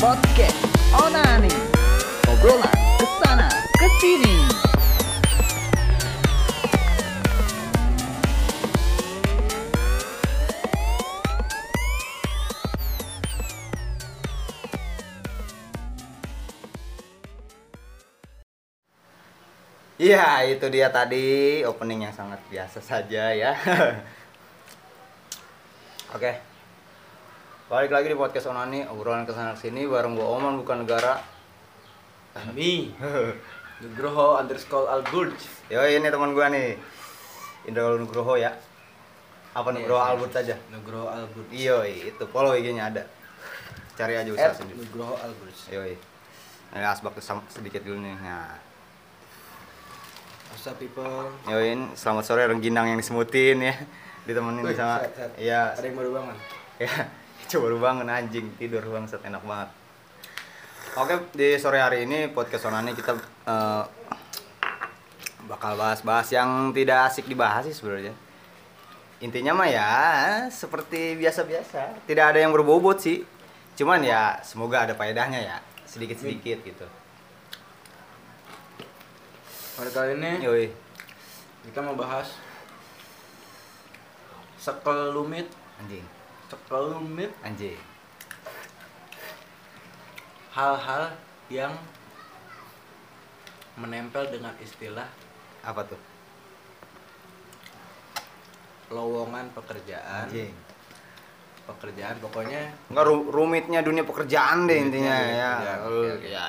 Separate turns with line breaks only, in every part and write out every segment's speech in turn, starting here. podcast Onani. Obrolan kesana kesini.
Iya, itu dia tadi opening yang sangat biasa saja ya. Oke. Balik lagi di podcast Onani, obrolan kesana sini bareng gua Oman bukan negara.
Kami Nugroho underscore Algurj
Yo, ini teman gua nih. Indra Nugroho ya. Apa Nugroho
Iya,
Albert aja?
Nugroho Algurj
Iyo, itu follow IG-nya ada. Cari aja usaha
At
sendiri.
Nugroho Algurj
Yo, Nah, asbak kesam- sedikit dulu nih. Nah,
What's up people?
yoin selamat sore rengginang yang disemutin ya. Ditemenin
Wih,
sama
sehat, sehat.
iya,
Ada yang baru bangun?
ya itu baru bangun anjing tidur bangsat enak banget oke di sore hari ini podcast onani kita eh, bakal bahas-bahas yang tidak asik dibahas sih sebenarnya intinya mah ya seperti biasa-biasa tidak ada yang berbobot sih cuman ya semoga ada faedahnya ya sedikit-sedikit gitu
Pada kali ini
yoi
kita mau bahas Sekel lumit
anjing
Sekel lumit
anjing
Hal-hal yang menempel dengan istilah
apa tuh
lowongan pekerjaan pekerjaan pokoknya
enggak ru- rumitnya dunia pekerjaan deh
Rumitnya
intinya
dunia
ya
pekerjaan,
Lu-
oke, oke.
ya,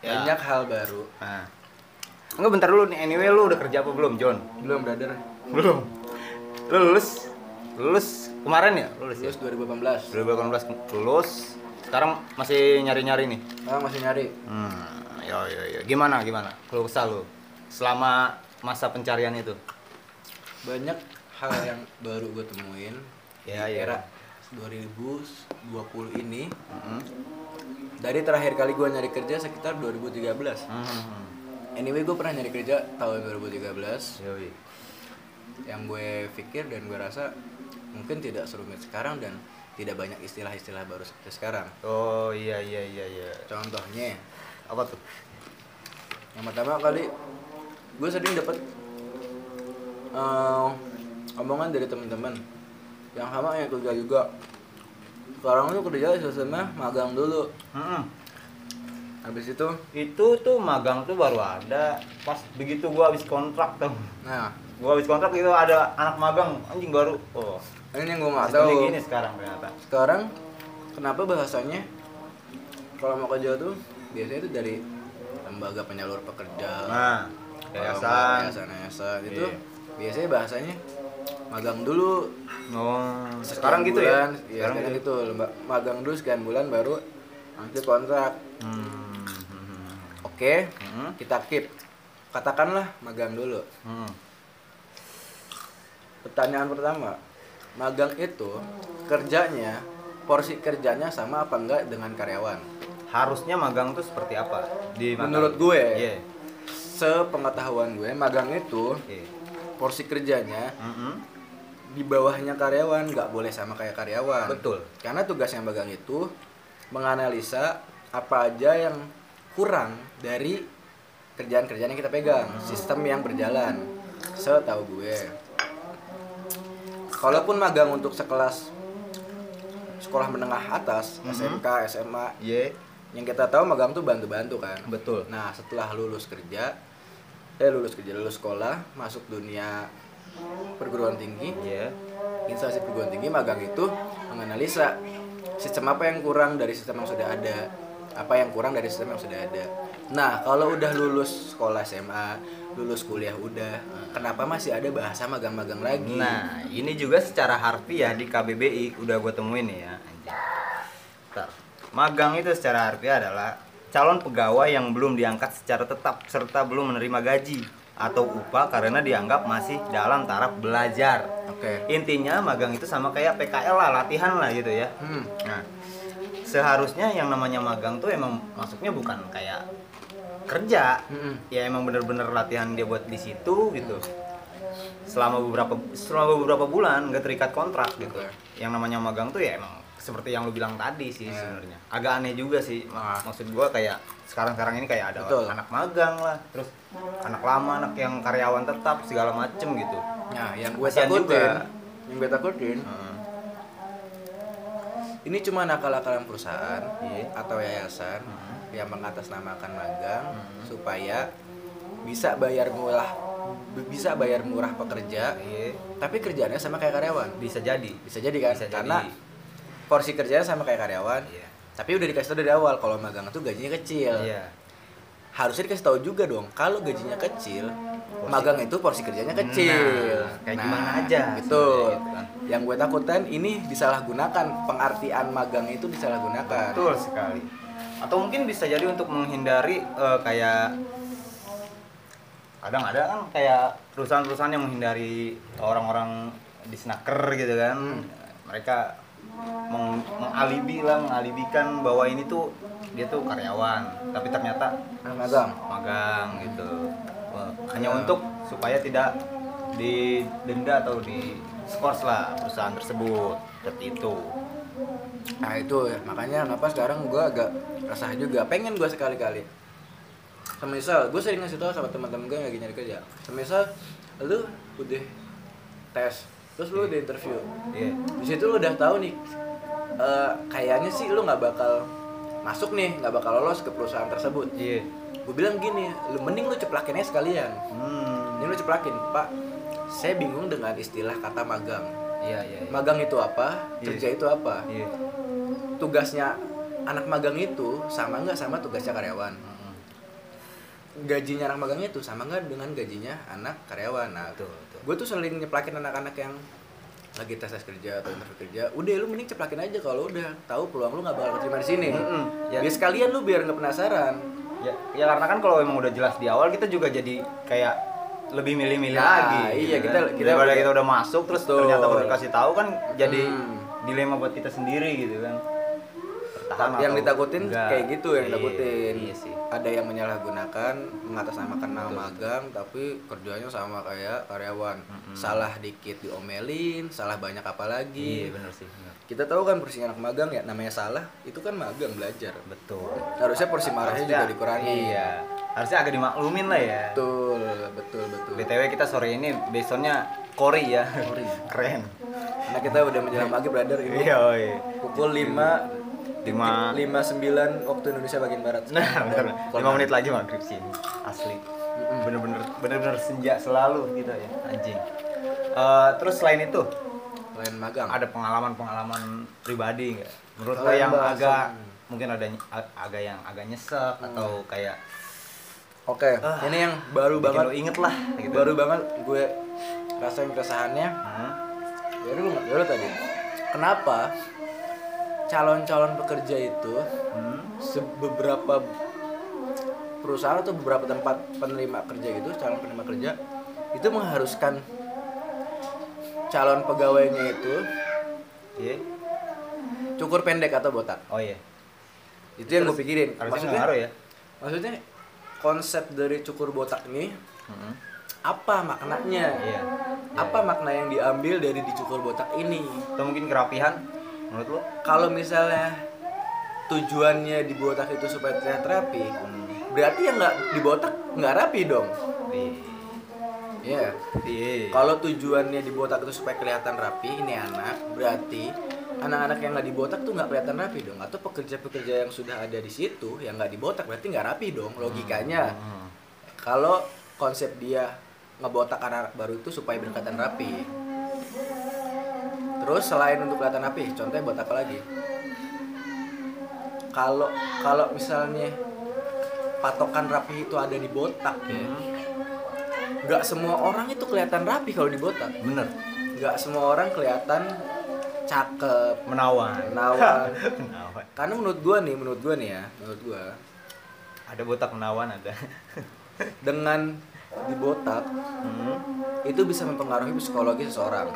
ya.
banyak hal baru
Nah. Enggak bentar dulu nih. Anyway, lu udah kerja apa belum, John?
belum brother
Belum. Lu lulus? Lulus kemarin ya? Lulus ya?
lulus
2018
2018
ke- lulus. Sekarang masih nyari-nyari nih.
ah, masih nyari
Hmm, yo yo yo. Gimana gimana? Kalau kesal lu selama masa pencarian itu.
banyak hal yang baru gue temuin
Ya,
di
ya.
era 2020 ini
Heeh.
dari terakhir kali gue nyari kerja sekitar 2013
Hmm.
anyway gue pernah nyari kerja tahun 2013
Yoi.
yang gue pikir dan gue rasa mungkin tidak serumit sekarang dan tidak banyak istilah-istilah baru seperti sekarang
Oh iya iya iya iya.
contohnya
Apa tuh?
yang pertama kali gue sering dapat eh, omongan dari teman-teman yang sama yang kerja juga sekarang lu kerja sistemnya magang dulu
Heeh.
habis itu
Itu tuh magang tuh baru ada pas begitu gua habis kontrak tuh.
nah
Gua habis kontrak itu ada anak magang anjing baru. Oh.
ini yang gue nggak
Sistemnya
tahu
gini sekarang ternyata.
sekarang kenapa bahasanya kalau mau kerja tuh biasanya itu dari lembaga penyalur pekerja
Nah, yayasan.
yayasan yayasan itu
Iya.
biasanya bahasanya magang dulu
Oh,
sekarang gitu ya sekarang
gitu.
gitu lembak magang dulu sekian bulan baru nanti kontrak
Hmm.
oke
Hmm.
kita keep katakanlah magang dulu
Hmm.
pertanyaan pertama magang itu kerjanya porsi kerjanya sama apa enggak dengan karyawan
Harusnya magang tuh seperti apa? Di magang.
Menurut gue.
Iya.
sepengetahuan gue magang itu
Iya. Hmm,
porsi kerjanya
Mm-mm.
di bawahnya karyawan nggak boleh sama kayak karyawan
Betul.
karena tugasnya magang itu menganalisa apa aja yang kurang dari kerjaan-kerjaan yang kita pegang sistem yang berjalan setahu gue kalaupun magang untuk sekelas sekolah menengah atas
Mhm.
SMK SMA
Iya.
yang kita tahu magang tuh bantu-bantu kan
Betul.
nah setelah lulus kerja eh lulus kerja lulus sekolah masuk dunia perguruan tinggi
Iya.
instansi perguruan tinggi magang itu menganalisa sistem apa yang kurang dari sistem yang sudah ada apa yang kurang dari sistem yang sudah ada nah kalau udah lulus sekolah SMA lulus kuliah udah eh, kenapa masih ada bahasa magang-magang lagi
Nah, ini juga secara harfiah di KBBI udah gue temuin nih ya, anjing. Bentar. Magang itu secara harfiah adalah calon pegawai yang belum diangkat secara tetap serta belum menerima gaji atau upah karena dianggap masih dalam taraf belajar.
Oke.
Intinya magang itu sama kayak PKL lah, latihan lah gitu ya.
hmm.
Nah, seharusnya yang namanya magang tuh emang masuknya bukan kayak kerja,
Mm-mm.
ya emang bener-bener latihan dia buat di situ gitu. Selama beberapa selama beberapa bulan nggak terikat kontrak gitu.
Oke.
Yang namanya magang tuh ya emang seperti yang lu bilang tadi sih
Iya.
sebenarnya agak aneh juga sih Ma-
Ah.
maksud gua kayak sekarang sekarang ini kayak ada
Betul.
anak magang lah terus anak lama anak yang karyawan tetap segala macem gitu
Nah, yang gue
Kasian
takutin,
juga.
yang gue takutin,
Heeh.
ini cuma nakal-nakalan perusahaan
Iya.
atau yayasan yang mengatasnamakan magang supaya bisa bayar murah, b- bisa bayar murah pekerja,
Iya,
tapi kerjaannya sama kayak karyawan.
bisa jadi
Bisa jadi kan?
Bisa jadi.
Karena porsi kerjanya sama kayak karyawan.
Iya.
Tapi udah dikasih tau dari awal kalau magang itu gajinya kecil.
iya
Harusnya dikasih tahu juga dong kalau gajinya kecil, magang itu porsi kerjanya kecil.
Nah, kayak gimana aja
Betul.
sebenarnya gitu kan.
Yang gue takutan ini disalahgunakan, pengertian magang itu disalahgunakan.
Betul sekali. Atau mungkin bisa jadi untuk menghindari eh, kayak kadang ada kan kayak perusahaan-perusahaan yang menghindari orang-orang di snacker gitu kan. Mereka meng- mengalibi lah, mengalibikan bahwa ini tuh dia tuh karyawan, tapi ternyata
Nah, magang.
magang gitu. Wah, Hanya untuk supaya tidak didenda atau di skors lah perusahaan tersebut seperti itu.
Nah itu ya, makanya kenapa sekarang gue agak resah juga. Pengen gue sekali-kali. Semisal gue sering ngasih tau sama teman-teman gue yang lagi nyari kerja. Semisal lu udah tes, terus lu udah interview.
Iya.
Di situ lu udah tahu nih, eh, kayaknya sih lu nggak bakal masuk nih, nggak bakal lolos ke perusahaan tersebut.
Iya.
Gue bilang gini, lu mending lu ceplakinnya sekalian.
Hmm.
Ini lu ceplakin, Pak. Saya bingung dengan istilah kata magang.
Iya, iya. iya.
Magang itu apa?
Iya.
Kerja itu apa?
Iya.
Tugasnya anak magang itu sama nggak sama tugasnya karyawan? Gajinya anak magang itu sama nggak dengan gajinya anak karyawan? Nah,
Betul, betul.
gue tuh sering nyeplakin anak-anak yang lagi tes tes kerja atau interview kerja, udah lu mending ceplakin aja kalau udah tahu peluang lu nggak bakal keterima di sini.
Mm-mm, ya.
Ya sekalian lu biar nggak penasaran.
Ya, ya karena kan kalau emang udah jelas di awal kita juga jadi kayak lebih milih-milih
Nah,
lagi.
iya,
gitu
kita-
kan.
kita
daripada
udah-
kita udah masuk terus
Betul.
ternyata baru dikasih tahu kan jadi
Hmm.
dilema buat kita sendiri gitu kan. Bertahan
yang
atau
ditakutin
enggak.
kayak gitu yang
Iya,
ditakutin
Iya sih.
ada yang menyalahgunakan mengatasnamakan nama magang tapi kerjanya sama kayak karyawan salah dikit diomelin salah banyak apa
Iya
lagi
benar sih. benar.
kita tahu kan porsi anak magang ya namanya salah itu kan magang belajar
Betul.
harusnya porsi marahnya juga
Harusnya-
dikurangi
Iya. Harusnya agak dimaklumin lah ya.
betul betul betul
BTW kita sore ini besoknya Kori ya. Keren.
karena kita udah menjelang pagi brother ini
Iya, iya.
pukul 5
Lima-
59 waktu Indonesia bagian barat
Nah, bentar.
Dan-
5 menit lagi maghrib sih. Asli. Bener-bener bener-bener senja selalu gitu ya, anjing. Eh, terus selain itu,
lain magang
ada pengalaman-pengalaman pribadi nggak? Menurut lo
Selain
yang
bahasan.
agak mungkin ada ny- ag- agak yang agak nyesek
Mm.
atau kayak
Oke, ini yang
Ah,
baru
bikin
banget
lo inget lah gitu.
baru banget gue rasain keresahannya
Hmm,
baru banget baru tadi kenapa calon-calon pekerja itu
hmm,
se- beberapa perusahaan atau beberapa tempat penerima kerja gitu calon penerima kerja itu mengharuskan calon pegawainya itu
iya.
cukur pendek atau botak
Oh iya.
itu yang gue pikirin
Harusnya ngaruh ya.
maksudnya konsep dari cukur botak ini
Hmm,
apa maknanya
Iya. Iya,
apa makna yang diambil dari dicukur botak ini
Atau mungkin kerapihan menurut lo?
kalau misalnya tujuannya di botak itu supaya terlihat rapi berarti yang nggak di botak nggak rapi dong
Iya.
Iya.
Iya.
kalau tujuannya di botak itu supaya kelihatan rapi ini anak berarti anak-anak yang nggak di botak tuh nggak kelihatan rapi dong atau pekerja-pekerja yang sudah ada di situ yang nggak di botak berarti nggak rapi dong logikanya
Hmm.
kalau konsep dia ngebotak anak baru itu supaya berkatan rapi terus selain untuk kelihatan rapi contohnya buat apa lagi kalau kalau misalnya patokan rapi itu ada di botak ya nggak semua orang itu kelihatan rapi kalau di botak
Bener.
nggak semua orang kelihatan cakep
Menawan.
menawan
Menawan.
karena menurut gua nih menurut gua nih ya menurut gua
Ada botak menawan ada.
dengan di botak
Hmm.
itu bisa mempengaruhi psikologi seseorang.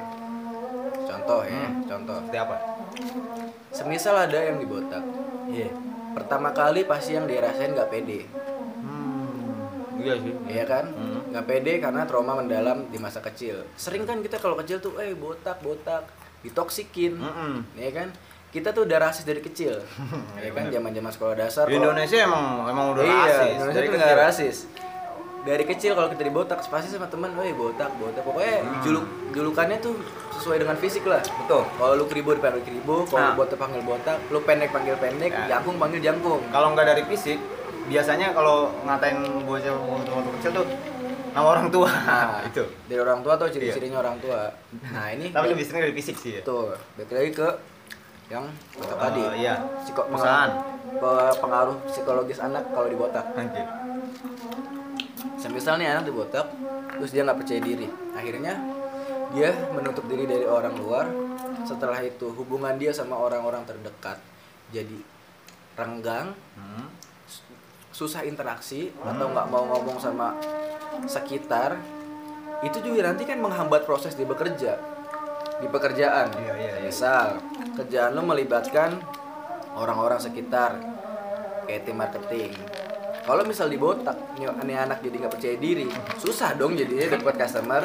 Contoh ya, contoh.
Seperti apa?
Semisal ada yang dibotak.
Iya.
Pertama kali pasti yang dirasain nggak pede,
Hmm. Iya sih.
ya kan?
Hmm.
Nggak pede karena trauma mendalam di masa
Hmm.
kecil. Sering kan kita kalau kecil tuh, eh botak botak, ditoksikin,
Mm-mm.
ya kan? kita tuh udah rasis dari kecil ya kan zaman zaman sekolah dasar
Di
kalau-
Indonesia emang emang udah
iya,
rasis.
Indonesia
Dari
tuh nggak
kecil.
rasis. Dari kecil kalau kita di botak pasti sama teman, "Woi, botak, botak." Pokoknya juluk julukannya tuh sesuai dengan fisik lah.
Hmm. Betul.
Kalau lu kribo dipanggil kribo, kalau
Nah.
lu botak panggil botak, lu pendek panggil pendek,
Ya.
jangkung panggil jangkung.
Kalau nggak dari fisik, biasanya kalau ngatain bocah waktu kecil tuh nama orang tua.
Nah,
itu. Iya.
Dari orang tua tuh ciri-cirinya orang tua. Nah, ini
Tapi lebih sering dari fisik sih ya.
tuh balik lagi ke yang botak
Eh,
tadi.
iya.
Psiko-
Perusahaan.
pe- pengaruh psikologis anak kalau di botak.
Anjir.
Semisal nih anak dibotak, terus dia nggak percaya diri. Akhirnya dia menutup diri dari orang luar. Setelah itu hubungan dia sama orang-orang terdekat jadi renggang,
Hmm.
susah interaksi atau nggak mau ngomong sama sekitar. Itu juga nanti kan menghambat proses dia bekerja di pekerjaan.
Iya, iya, iya.
Misal kerjaan lo melibatkan orang-orang sekitar kayak tim marketing. Kalau misal dibotak, nih nih anak jadi nggak percaya diri, susah dong jadinya dapat customer,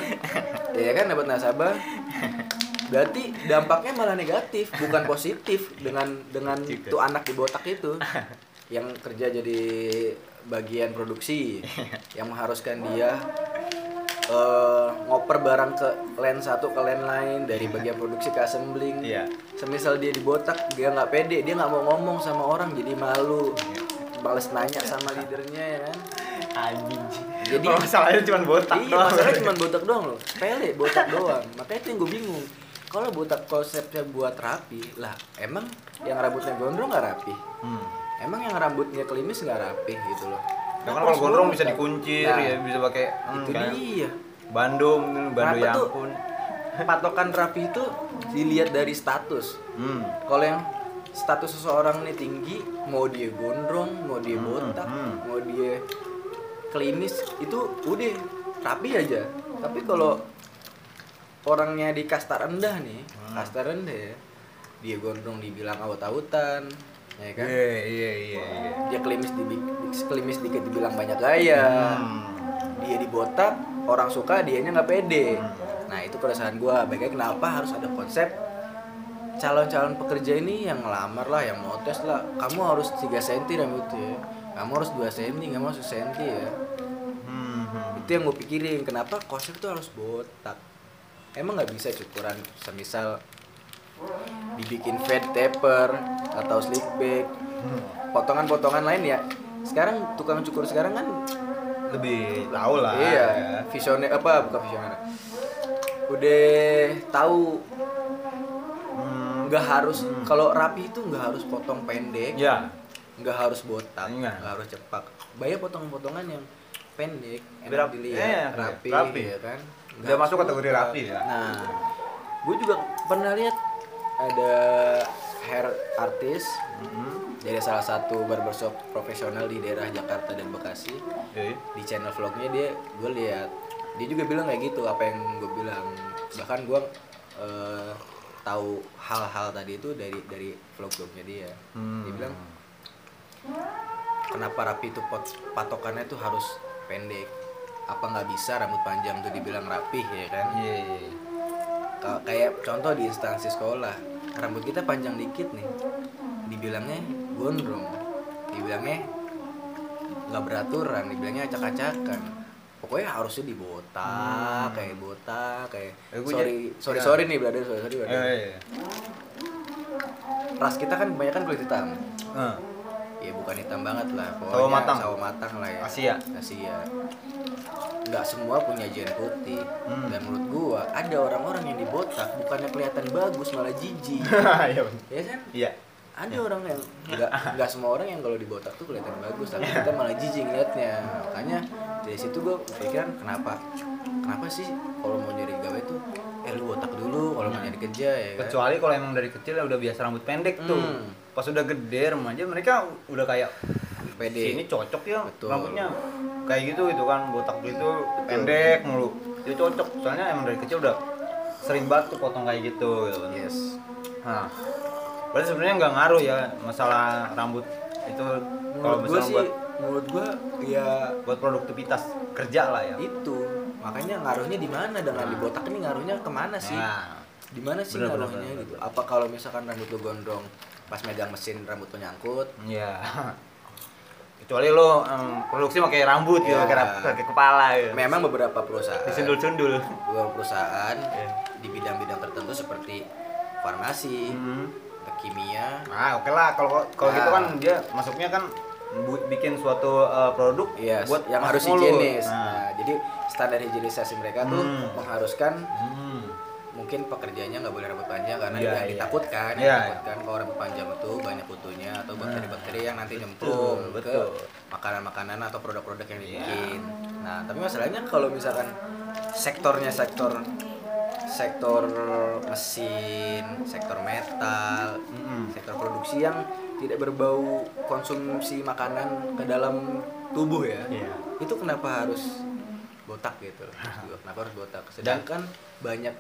ya kan dapat nasabah. Berarti dampaknya malah negatif, bukan positif dengan dengan
Juga.
tuh anak dibotak itu yang kerja jadi bagian produksi yang mengharuskan dia eh, ngoper barang ke line satu ke line lain dari bagian produksi ke assembling.
Iya.
Semisal dia dibotak, dia nggak pede, dia nggak mau ngomong sama orang, jadi malu.
Iya.
Balas nanya sama leadernya ya kan.
Anjing. Oh.
Jadi-
Jadi masalahnya cuma botak
iya,
doang.
masalahnya cuma botak doang loh. Pele botak doang. Makanya itu yang gue bingung. Kalau botak konsepnya buat rapi, lah emang yang rambutnya gondrong nggak rapi?
Hmm.
Emang yang rambutnya kelimis nggak rapi gitu loh?
Ya kan
Kenapa
kalau
harus
gondrong bisa
botak?
dikuncir
Nah,
ya, bisa pakai hmm,
Itu
kayak
dia.
Bandung, Bandung
Kenapa
yang
tuh?
pun.
Patokan rapi itu dilihat dari status.
Hmm.
Kalau yang status seseorang ini tinggi, mau dia gondrong, mau dia botak,
hmm.
mau dia klinis, itu udah rapi aja. Tapi kalau orangnya di kasta rendah nih,
Hmm.
kasta rendah ya, dia gondrong dibilang awut-awutan, ya kan?
Iya, iya, iya, iya.
Dia klimis dibi- klimis dikit dibilang banyak gaya.
Hmm.
Dia dibotak, orang suka, dianya nggak pede. Nah, itu keresahan gua. Baiknya kenapa harus ada konsep calon-calon pekerja ini yang ngelamar lah, yang mau tes lah, kamu harus 3 cm rambutnya, ya. kamu harus 2 cm, kamu harus 1 cm ya.
Hmm. hmm.
Itu yang gue pikirin, kenapa konsep tuh harus botak? Emang nggak bisa cukuran, semisal dibikin fade taper atau slick back, potongan-potongan lain ya. Sekarang tukang cukur sekarang kan
Lebih tahu lah.
iya,
ya.
visioner apa bukan visioner. Udah tahu
Hmm.
nggak harus kalau rapi itu nggak harus potong pendek
Ya.
nggak harus botak
Iya.
nggak harus cepak banyak potongan-potongan yang pendek
Tapi
enak
rap- eh,
dilihat rapi,
rapi.
ya kan
Udah
Nggak
masuk
harus
kategori
botak.
rapi ya?
nah gue juga pernah lihat ada hair artist
Hmm.
dari salah satu barbershop profesional di daerah Jakarta dan Bekasi
Jadi,
di channel vlognya dia gue lihat dia juga bilang kayak gitu apa yang gue bilang bahkan gue eh, tahu hal-hal tadi itu dari dari vlog vlognya dia dia
Hmm.
bilang kenapa rapi itu pot- patokannya tuh harus pendek apa nggak bisa rambut panjang tuh dibilang rapih ya kan
Iya, iya, iya.
Ka- kayak contoh di instansi sekolah rambut kita panjang dikit nih dibilangnya gondrong dibilangnya nggak beraturan dibilangnya acak-acakan pokoknya harusnya dibotak kayak botak kayak
Eh, gua
sorry
jadi-
sorry
iya.
sorry nih brother sorry sorry brother.
Iya, iya, iya.
ras kita kan kebanyakan kulit hitam
Eh,
ya bukan hitam banget lah pokoknya
Sawo matang.
sawo matang lah ya
Asia.
Asia nggak semua punya jen putih
Hmm.
dan menurut gua ada orang-orang yang dibotak bukannya kelihatan bagus malah jijik
Iya, bener.
ya kan
Iya.
ada orang yang nggak nggak semua orang yang kalau dibotak tuh kelihatan bagus tapi kita
Ya.
malah jijik liatnya makanya dari situ gue kepikiran kenapa kenapa sih kalau mau nyari gawe tuh eh lu botak dulu kalau mau nyari kerja ya kan?
Kecuali kalau emang dari kecil ya udah biasa rambut pendek tuh.
Hmm.
Pas udah gede remaja mereka udah kayak
Pede.
sini cocok ya
Betul.
rambutnya. Kayak gitu gitu kan botak gitu pendek mulu. Dia cocok soalnya emang dari kecil udah sering banget tuh potong kayak gitu gitu. kan.
yes
Nah, berarti sebenarnya nggak ngaruh ya masalah rambut itu kalau
menurut gue
misalnya
sih
buat
menurut gue ya
buat produktivitas kerja lah ya.
itu makanya ngaruhnya di mana dengan dibotak ini ngaruhnya kemana sih
Nah,
di mana sih
Ya. Bener, bener,
ngaruhnya
bener,
gitu apa kalau misalkan rambut lu gondrong pas megang mesin rambut lu nyangkut
Iya. Kecuali lo em, produksi pakai rambut gitu,
Iya.
pakai rap- pakai kepala gitu.
memang beberapa perusahaan
Disundul-sundul.
beberapa perusahaan
Iya.
di bidang-bidang tertentu seperti farmasi
Hmm.
kimia
Ah, oke lah kalau kalau gitu
Nah.
kan dia masuknya kan bu- bikin suatu eh, produk
Iya,
buat
yang harus
masuk mulu.
higienis.
Nah.
Nah, jadi standar higienisasi mereka tuh
Hmm.
mengharuskan
Hmm.
mungkin pekerjaannya nggak boleh rambut panjang karena
Iya,
yang
iya.
ditakutkan, yang
Iya, Nah.
ditakutkan kalau rambut panjang itu banyak kutunya atau bakteri-bakteri yang nanti
Betul,
nyemplung ke
betul. Iya.
makanan-makanan atau produk-produk yang dibikin. Nah, tapi masalahnya kalau misalkan sektornya sektor sektor mesin, sektor metal,
Mm-mm.
sektor produksi yang tidak berbau konsumsi makanan ke dalam tubuh ya
Iya.
itu kenapa harus botak gitu loh, maksud gua, kenapa harus botak sedangkan banyak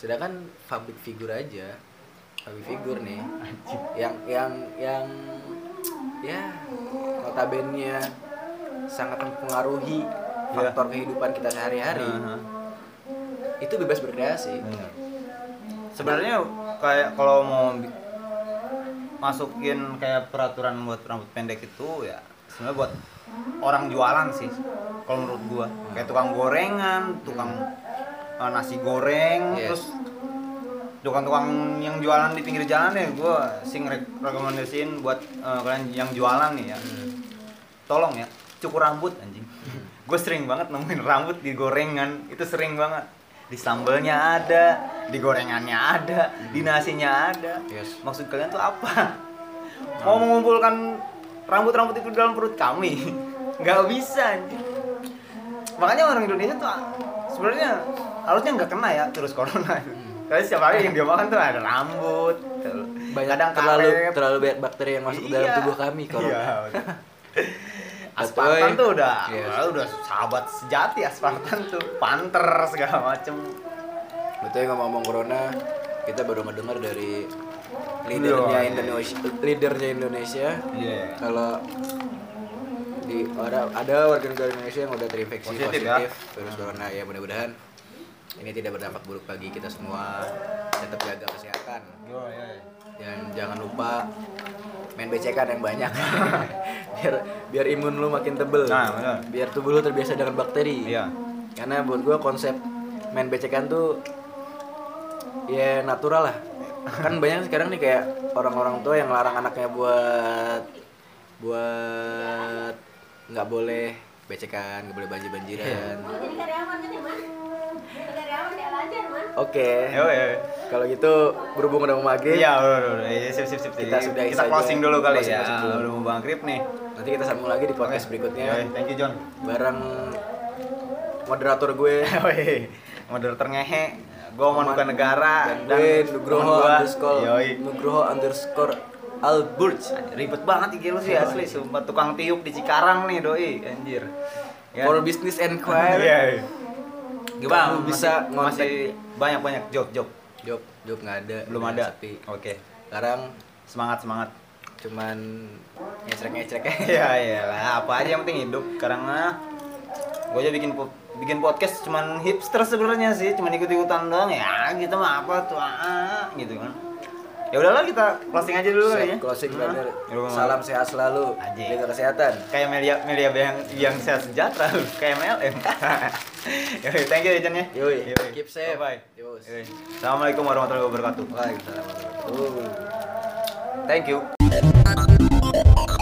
sedangkan public figure aja public figure nih yang yang yang ya notabene sangat mempengaruhi faktor kehidupan kita sehari-hari
Aha.
itu bebas berkreasi
Bener. Sebenarnya kayak kalau mau bi- masukin kayak peraturan buat rambut pendek itu ya sebenarnya buat orang jualan sih kalau menurut gua kayak tukang gorengan, tukang eh, nasi goreng,
Iya.
terus tukang-tukang yang jualan di pinggir jalan ya gua sing re- rekomendasiin buat eh, kalian yang jualan nih ya tolong ya cukur rambut anjing gue sering banget nemuin rambut di gorengan itu sering banget di sambelnya ada di gorengannya ada di nasinya ada
Yes.
maksud kalian tuh apa mau mengumpulkan rambut-rambut itu di dalam perut kami nggak bisa anjing makanya orang Indonesia tuh sebenarnya harusnya nggak kena ya terus corona
Hmm.
karena setiap hari yang dia makan tuh ada rambut
banyak
kadang
terlalu
karet.
terlalu banyak bakteri yang masuk ke dalam
Iya.
tubuh kami kalau
Iya, betul.
Betul,
Aspartan
eh.
tuh udah,
Iya.
malah udah sahabat sejati aspartan tuh, panter segala macem.
Betul yang ngomong-ngomong corona, kita baru ngedengar dari
Iya,
leadernya
iya.
Indonesia, leadernya Indonesia.
Iya.
Kalau di ada ada warga negara Indonesia yang udah terinfeksi
Positif
positif,
ya.
virus corona ya mudah-mudahan ini tidak berdampak buruk bagi kita semua. Tetap jaga kesehatan dan jangan lupa main becekan yang banyak biar biar imun lu makin tebel
Nah, benar.
biar tubuh lu terbiasa dengan bakteri
Iya.
karena buat gua konsep main becekan tuh ya natural lah kan banyak sekarang nih kayak orang-orang tua yang larang anaknya buat buat nggak boleh becekan nggak boleh banjir banjiran
Iya.
Jadi karyawan kan ya, Man? Jadi karyawan ya lancar, Man.
oke
Yo, yo.
kalau gitu berhubung udah mau maghrib
Iya, udah, udah, udah. Iya, sip, sip, sip.
Kita
Jadi
sudah
kita
saja.
closing dulu kali
Closing,
ya.
closing dulu.
Udah mau bangkrip nih.
nanti kita sambung lagi di podcast berikutnya
Yoi, thank you John.
bareng moderator gue
Yoi. Moderator ngehe, gue mau duka
Oman
negara
dan gue
temen
Nugroho
Ah, gua.
underscore
Yoi.
Nugroho underscore Alburj
Ribet banget IG lu sih asli, sumpah tukang tiup di Cikarang nih doi, anjir. Ya.
for business
Iya,
enquiry
iya. Gimana?
Kamu
Masih-
bisa ngontak-
masih banyak banyak job job
job job nggak ada
belum
udah
ada.
sepi
Oke.
sekarang
Semangat semangat.
cuman ngecek ngecek ya
Iya iyalah, apa aja yang penting hidup. Karena gue aja bikin po- bikin podcast cuman hipster sebenarnya sih, cuman ikut-ikutan doang ya. Kita mah apa tuh ah, gitu kan. Ya udahlah kita closing aja dulu kali ya.
closing
Hmm.
brother
Ya, udah,
salam sehat selalu
Anjing.
jaga kesehatan
kayak Melia Melia yang yang sehat sejahtera lu, kayak MLM. Yoi, thank you Jan ya.
Yoi, keep safe.
Bye.
Yos.
Assalamualaikum warahmatullahi wabarakatuh.
Waalaikumsalam warahmatullahi wabarakatuh.
Thank you.